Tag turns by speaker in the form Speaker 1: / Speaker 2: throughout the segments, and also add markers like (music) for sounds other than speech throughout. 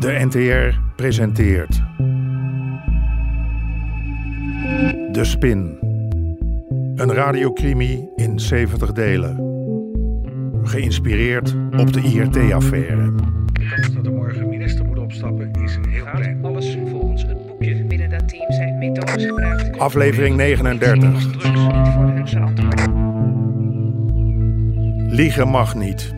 Speaker 1: De NTR presenteert. De Spin. Een radiocrimi in 70 delen. Geïnspireerd op de IRT-affaire.
Speaker 2: De kans dat er morgen minister moet opstappen is heel klein.
Speaker 3: Alles volgens het boekje. Binnen dat team zijn methodes gebruikt.
Speaker 1: Aflevering 39.
Speaker 3: Drugs niet voor hun verantwoord.
Speaker 1: Liegen mag niet.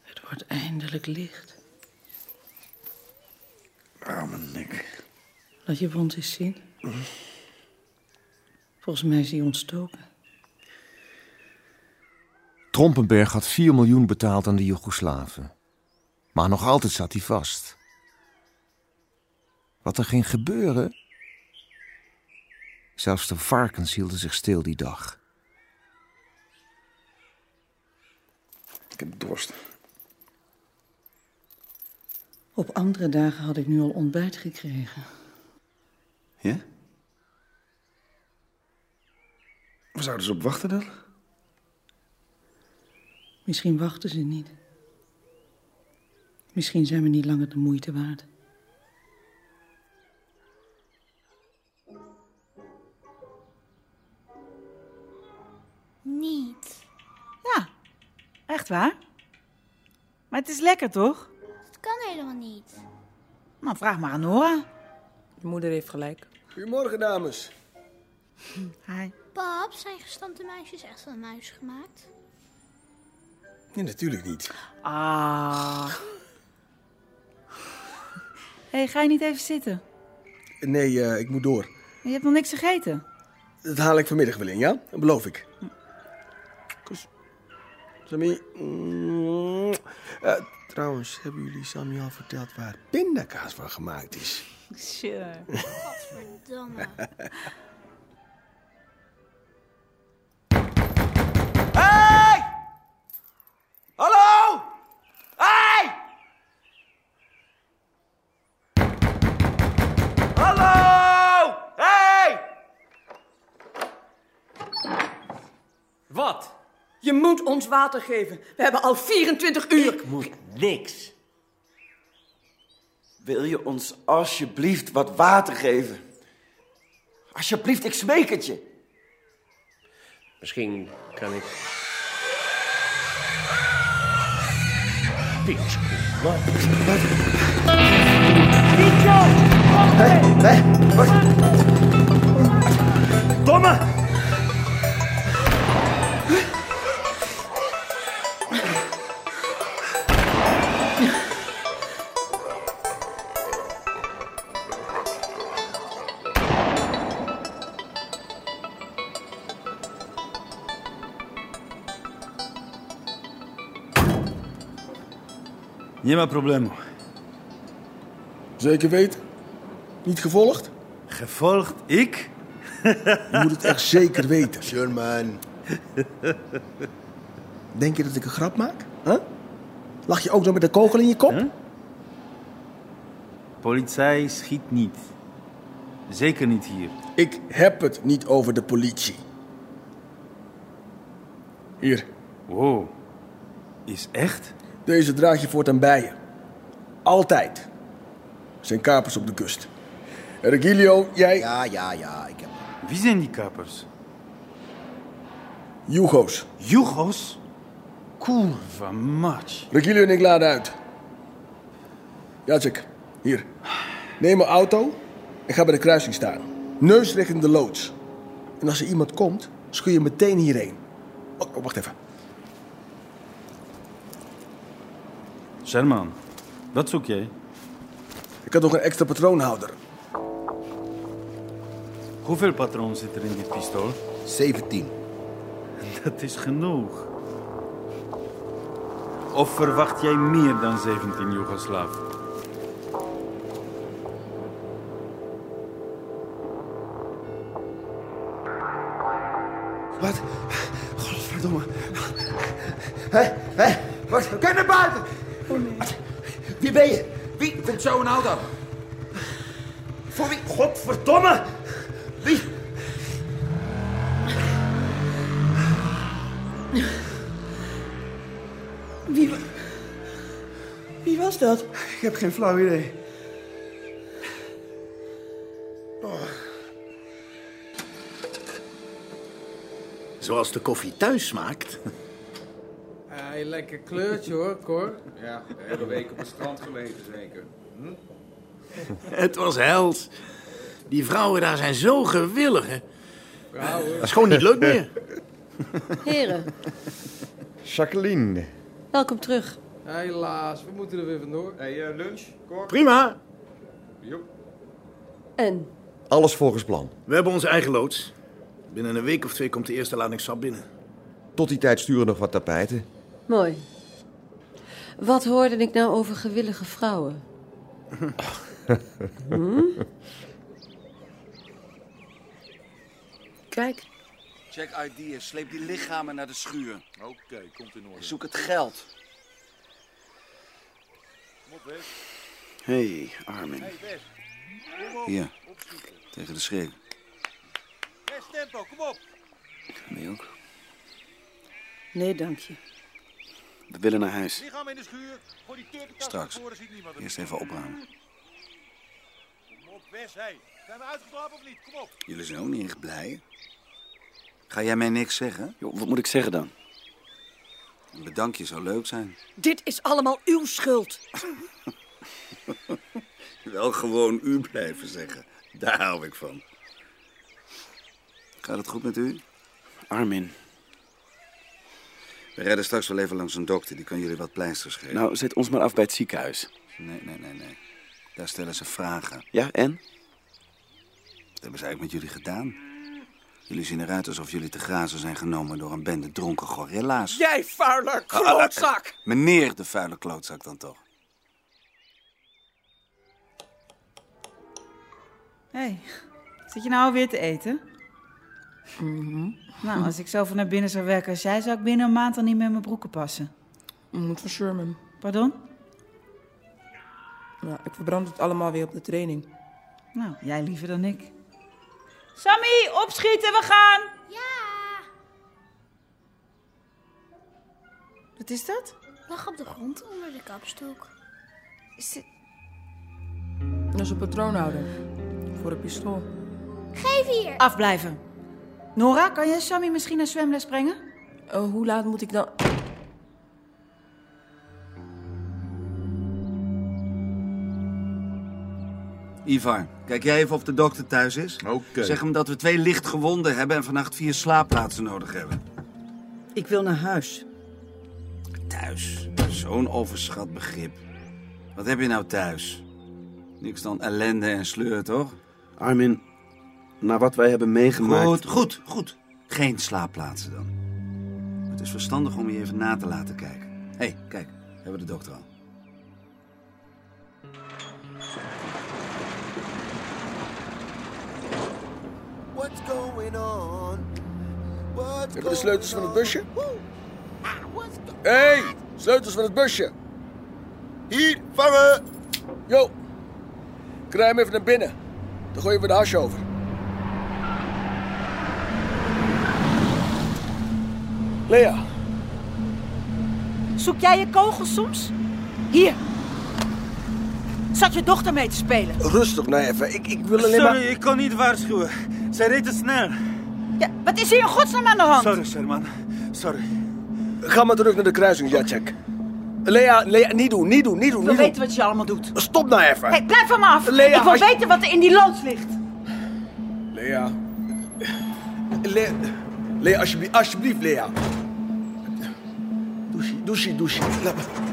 Speaker 4: Het wordt eindelijk licht.
Speaker 5: Arme nek.
Speaker 4: Laat je wond eens zien. Volgens mij is die ontstoken.
Speaker 6: Trompenberg had 4 miljoen betaald aan de Joegoslaven. Maar nog altijd zat hij vast. Wat er ging gebeuren? Zelfs de varkens hielden zich stil die dag.
Speaker 5: Ik heb dorst.
Speaker 4: Op andere dagen had ik nu al ontbijt gekregen.
Speaker 5: Ja? Waar zouden ze op wachten dan?
Speaker 4: Misschien wachten ze niet. Misschien zijn we niet langer de moeite waard.
Speaker 7: Niet.
Speaker 8: Ja, echt waar. Maar het is lekker, toch?
Speaker 7: Dat kan helemaal niet.
Speaker 8: Nou, vraag maar aan Nora.
Speaker 9: Je moeder heeft gelijk.
Speaker 10: Goedemorgen, dames.
Speaker 8: Hi.
Speaker 7: Pap, zijn gestampte muisjes echt van een muis gemaakt?
Speaker 10: Nee, natuurlijk niet.
Speaker 8: Ah. Hé, hey, ga je niet even zitten?
Speaker 10: Nee, eh, ik moet door.
Speaker 8: Je hebt nog niks gegeten.
Speaker 10: Dat haal ik vanmiddag wel in, ja? Dat beloof ik. Kus. Sammy. Mm. Eh, trouwens, hebben jullie Sammy al verteld waar pindakaas van gemaakt is?
Speaker 8: Sure.
Speaker 7: Verdomme.
Speaker 5: Hallo! Hey! Hallo! Hey! Wat?
Speaker 11: Je moet ons water geven. We hebben al 24 uur.
Speaker 5: Ik moet niks. Wil je ons alsjeblieft wat water geven? Alsjeblieft, ik smeek het je.
Speaker 2: Misschien kan ik. Piet.
Speaker 5: Hé, wat? Domme!
Speaker 12: Nie ma problemu.
Speaker 10: Zeker weten? Niet gevolgd?
Speaker 12: Gevolgd ik?
Speaker 10: Je moet het
Speaker 6: (laughs)
Speaker 10: echt zeker weten. Sherman. Denk je dat ik een grap maak? Huh? Lach je ook nog met een kogel in je kop?
Speaker 12: Politie schiet niet. Zeker niet hier.
Speaker 10: Ik heb het niet over de politie. Hier,
Speaker 12: Wow. Is echt?
Speaker 10: deze draag je voortaan bij je. Altijd. Er zijn kapers op de kust. Regilio, jij... Ja, ja, ja, ik heb...
Speaker 12: Wie zijn die kapers?
Speaker 10: Jugo's.
Speaker 12: Jugos? Kurva match.
Speaker 10: Regilio en ik laden uit. Jacek, hier. Neem een auto en ga bij de kruising staan. Neus recht in de loods. En als er iemand komt, schuur je meteen hierheen. Oh, oh, wacht even.
Speaker 12: Sherman, wat zoek jij?
Speaker 10: Ik had nog een extra patroonhouder.
Speaker 12: Hoeveel patroon zit er in dit pistool? (laughs)
Speaker 13: 17.
Speaker 12: Dat is genoeg. Of verwacht jij meer dan 17 Joegoslaven?
Speaker 5: Wat? Godverdomme.
Speaker 14: Oh,
Speaker 5: Hé, hé, wat? Kijk naar buiten! Wie ben je?
Speaker 12: Wie vindt zo'n auto? Voor wie? Godverdomme! Wie?
Speaker 14: Wie, wa- wie was dat?
Speaker 12: Ik heb geen flauw idee. Oh.
Speaker 10: Zoals de koffie thuis smaakt.
Speaker 8: Hey, lekker kleurtje hoor, Cor.
Speaker 15: Ja, de hele week op het strand gelegen zeker. Hm?
Speaker 10: Het was hels. Die vrouwen daar zijn zo gewillig, hè.
Speaker 15: Vrouwen.
Speaker 10: Dat is gewoon niet leuk meer.
Speaker 16: Heren,
Speaker 6: Jacqueline.
Speaker 16: welkom terug.
Speaker 8: Helaas, we moeten er weer vandoor. Hey, eh, lunch, Cor?
Speaker 10: Prima.
Speaker 8: Joep.
Speaker 16: En?
Speaker 6: Alles volgens plan.
Speaker 10: (laughs) We hebben onze eigen loods. Binnen een week of twee komt de eerste lading sap binnen.
Speaker 17: Tot die tijd sturen we nog wat tapijten.
Speaker 18: Mooi. Wat hoorde ik nou over gewillige vrouwen? Hm? Kijk,
Speaker 12: Check ideas. Sleep die lichamen naar de schuur.
Speaker 15: Oké, komt in orde.
Speaker 12: Zoek het geld. Hé, hey, Armin. Hier. Tegen de schreeuw.
Speaker 15: Best tempo, kom op.
Speaker 12: Nee ook.
Speaker 18: nee dank je.
Speaker 12: We willen naar huis.
Speaker 15: Lichaam in de schuur. Voor die turpentast
Speaker 12: Straks.
Speaker 15: naar voren ziet niemand hem.
Speaker 12: Eerst even opruimen.
Speaker 15: Kom op, Wes, hé. Zijn we uitgeslapen of niet? Kom op.
Speaker 12: Jullie zijn ook niet echt blij. Ga jij mij niks zeggen? wat moet ik zeggen dan? Een bedankje zou leuk zijn.
Speaker 14: Dit is allemaal uw schuld.
Speaker 10: Wel gewoon u blijven zeggen. Daar hou ik van.
Speaker 12: Gaat het goed met u? Armin.
Speaker 10: We rijden straks wel even langs een dokter. Die kan jullie wat pleisters geven.
Speaker 12: Nou, zet ons maar af bij het ziekenhuis.
Speaker 10: Nee, nee, nee, nee. Daar stellen ze vragen.
Speaker 12: Ja, en?
Speaker 10: Wat hebben ze eigenlijk met jullie gedaan? Jullie zien eruit alsof jullie te grazen zijn genomen door een bende dronken gorilla's.
Speaker 14: Jij vuile
Speaker 10: Ah, ah, ah,
Speaker 14: klootzak!
Speaker 10: Meneer de vuile klootzak dan toch.
Speaker 4: Hé, hey, zit je nou alweer te eten?
Speaker 16: Mhm.
Speaker 4: Nou, als ik zoveel naar binnen zou werken als jij, zou ik binnen een maand al niet meer in mijn broeken passen.
Speaker 16: Moet voor Sherman.
Speaker 4: Pardon?
Speaker 16: Ja, ik verbrand het allemaal weer op de training.
Speaker 4: Nou, jij liever dan ik. Sammy, opschieten, we gaan! Wat is dat?
Speaker 7: Lag op de grond onder de kapstok.
Speaker 4: Is dit...
Speaker 16: Dat is een patroonhouder. Voor een pistool.
Speaker 7: Geef hier!
Speaker 4: Afblijven. Nora, kan jij Sammy misschien naar zwemles brengen?
Speaker 16: Oh, hoe laat moet ik dan...
Speaker 10: Ivar, kijk jij even of de dokter thuis is? Oké. Zeg hem dat we twee lichtgewonden hebben en vannacht vier slaapplaatsen nodig hebben.
Speaker 18: Ik wil naar huis.
Speaker 10: Thuis. Zo'n overschat begrip. Wat heb je nou thuis? Niks dan ellende en sleur, toch?
Speaker 12: Armin, na wat wij hebben meegemaakt...
Speaker 10: Goed, goed, goed. Geen slaapplaatsen dan. Het is verstandig om je even na te laten kijken. Hé, hey, kijk, we hebben de dokter al.
Speaker 19: What's going on? Hebben we de sleutels van het busje? Hé, hey, sleutels van het busje. Hier, vangen. Jo, krijg hem even naar binnen. Dan gooien we de hasje over. Lea,
Speaker 4: Zoek jij je kogels soms? Hier. Zat je dochter mee te spelen?
Speaker 19: rustig nou even. Ik, ik wil alleen
Speaker 20: Sorry,
Speaker 19: maar...
Speaker 20: ik kon niet waarschuwen. Zij reed te snel.
Speaker 4: Ja, wat is hier in godsnaam aan de hand?
Speaker 20: Sorry, Sherman. Sorry.
Speaker 19: Ga maar terug naar de kruising, Jacek. Lea, Lea, niet doen, niet doen, niet doen.
Speaker 4: Ik wil
Speaker 19: niet doen.
Speaker 4: weten wat je allemaal doet.
Speaker 19: Stop nou even.
Speaker 4: hey, blijf van me af.
Speaker 19: Lea,
Speaker 4: ik wil
Speaker 19: als je-
Speaker 4: weten wat er in die loods ligt.
Speaker 19: Lea. Lea, Lea alsjeblieft, alsjeblieft, Lea. Douche, douche, douche. Laat me-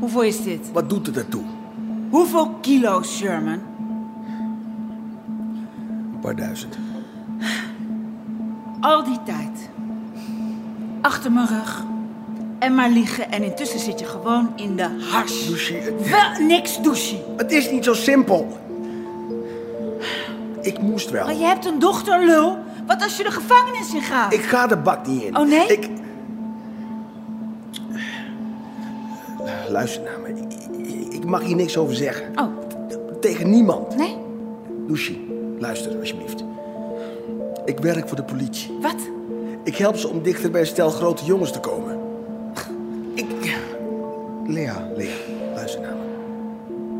Speaker 4: Hoeveel is dit?
Speaker 19: Wat doet het ertoe?
Speaker 4: Hoeveel kilo, Sherman?
Speaker 19: Een paar duizend.
Speaker 4: Al die tijd. Achter mijn rug. En maar liggen. En intussen zit je gewoon in de hars.
Speaker 19: Douche, het-
Speaker 4: Wel niks douche.
Speaker 19: het is niet zo simpel. Ik moest
Speaker 4: Maar
Speaker 19: wel.
Speaker 4: je hebt een dochter, lul. Wat als je de gevangenis in gaat?
Speaker 19: Ik ga de bak niet in.
Speaker 4: Oh nee?
Speaker 19: Ik...
Speaker 10: Nou, luister naar me. Ik, ik mag hier niks over zeggen.
Speaker 4: Oh.
Speaker 10: Tegen niemand.
Speaker 4: Nee?
Speaker 10: Lucie, luister alsjeblieft. Ik werk voor de politie.
Speaker 4: Wat?
Speaker 10: Ik help ze om dichter bij een stel grote jongens te komen. Ik... Lea, Lea, luister naar me.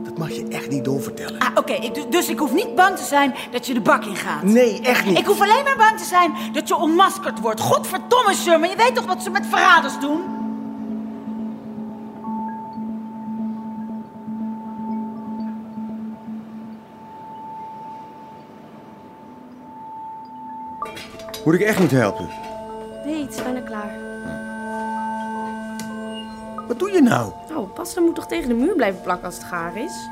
Speaker 10: Dat mag je echt niet doorvertellen.
Speaker 4: Ah, oké. ik- dus- dus ik hoef niet bang te zijn dat je de bak in gaat.
Speaker 10: Nee, echt niet.
Speaker 4: Ik hoef alleen maar bang te zijn dat je onmaskerd wordt. Godverdomme, Sherman. Je weet toch wat ze met verraders doen?
Speaker 21: Moet ik echt niet helpen?
Speaker 3: Nee, het is bijna klaar.
Speaker 21: Wat doe je nou?
Speaker 3: Oh, pasta moet toch tegen de muur blijven plakken als het gaar is?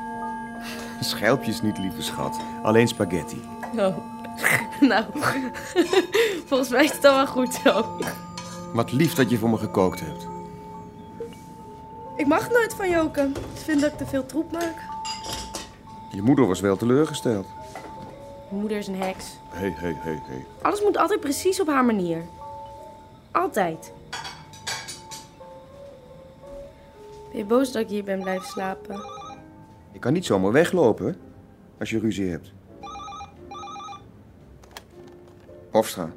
Speaker 21: Schelpjes niet, lieve schat. Alleen spaghetti.
Speaker 3: Oh. nou, (laughs) volgens mij is het dan wel goed zo.
Speaker 21: Wat lief dat je voor me gekookt hebt.
Speaker 3: Ik mag nooit van Joken. Ze vindt dat ik te veel troep maak.
Speaker 21: Je moeder was wel teleurgesteld.
Speaker 3: Mijn moeder is een heks.
Speaker 21: Hé, hé, hé, hé.
Speaker 3: Alles moet altijd precies op haar manier. Altijd. Ben je boos dat ik hier ben blijven slapen?
Speaker 21: Je kan niet zomaar weglopen hè, als je ruzie hebt. Hofstra.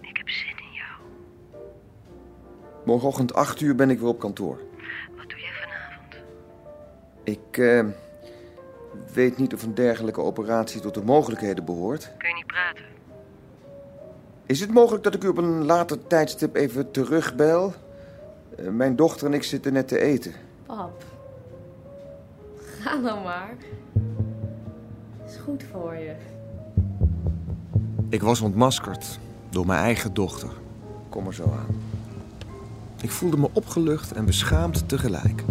Speaker 21: Ik heb zin in jou. Morgenochtend 8 uur ben ik weer op kantoor.
Speaker 22: Wat doe jij vanavond?
Speaker 21: Ik eh, weet niet of een dergelijke operatie tot de mogelijkheden behoort.
Speaker 22: Kun je niet praten?
Speaker 21: Is het mogelijk dat ik u op een later tijdstip even terugbel? Eh, mijn dochter en ik zitten net te eten.
Speaker 3: Pap. Ga nou maar. Is goed voor je.
Speaker 6: Ik was ontmaskerd door mijn eigen dochter. Kom er zo aan. Ik voelde me opgelucht en beschaamd tegelijk.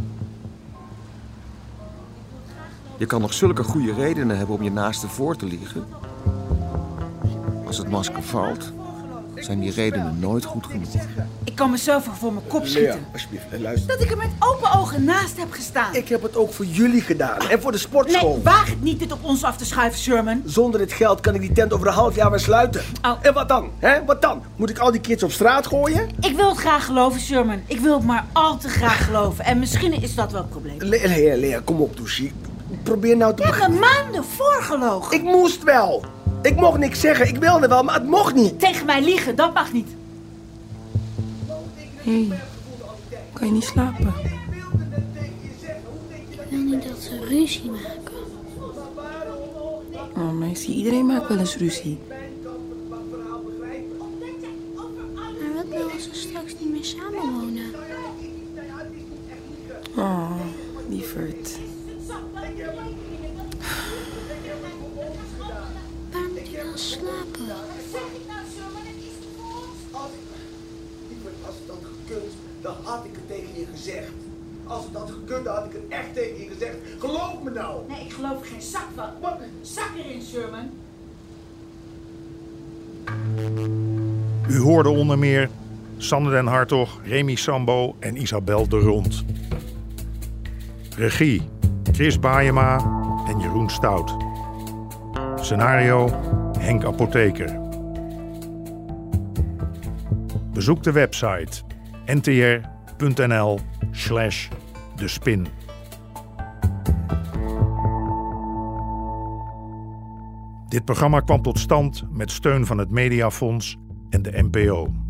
Speaker 6: Je kan nog zulke goede redenen hebben om je naaste voor te liegen. Als het masker valt, zijn die redenen nooit goed genoeg.
Speaker 4: Ik kan mezelf er voor mijn kop
Speaker 10: Lea,
Speaker 4: schieten.
Speaker 10: alsjeblieft, luister.
Speaker 4: Dat ik er met open ogen naast heb gestaan.
Speaker 10: Ik heb het ook voor jullie gedaan en voor de sportschool.
Speaker 4: Nee, waag het niet dit op ons af te schuiven, Sherman. Oh.
Speaker 10: Zonder dit geld kan ik die tent over een half jaar weer sluiten. En wat dan? Hè? Wat dan? Moet ik al die kids op straat gooien?
Speaker 4: Ik wil het graag geloven, Sherman. Ik wil het maar al te graag geloven. En misschien is dat wel het probleem.
Speaker 10: Lea, Lea, Lea, kom op, Douchie. Probeer nou te...
Speaker 4: Ik heb me maanden voorgelogen.
Speaker 10: Ik moest wel. Ik mocht niks zeggen. Ik wilde wel, maar het mocht niet.
Speaker 4: Tegen mij liegen, dat mag niet.
Speaker 9: Hé, kan je niet slapen?
Speaker 7: Ik wil niet dat ze ruzie maken.
Speaker 9: Oh, meisje, iedereen maakt wel eens ruzie.
Speaker 7: Maar wat nou als ze straks niet meer samenwonen?
Speaker 9: Oh, lieverd.
Speaker 7: Waar moet ik dan slapen?
Speaker 10: Als het had gekund, dan had ik het tegen je gezegd. Als het had gekund, dan had ik het echt tegen je gezegd. Geloof me nou.
Speaker 4: Nee, ik geloof er geen zak van. Zak erin, Sherman.
Speaker 1: U hoorde onder meer Sander den Hartog, Remy Sambo en Isabel de Rond. Regie Chris Baayema en Jeroen Stout. Scenario Henk Apotheker. Bezoek de website ntr.nl slash de spin. Dit programma kwam tot stand met steun van het Mediafonds en de NPO.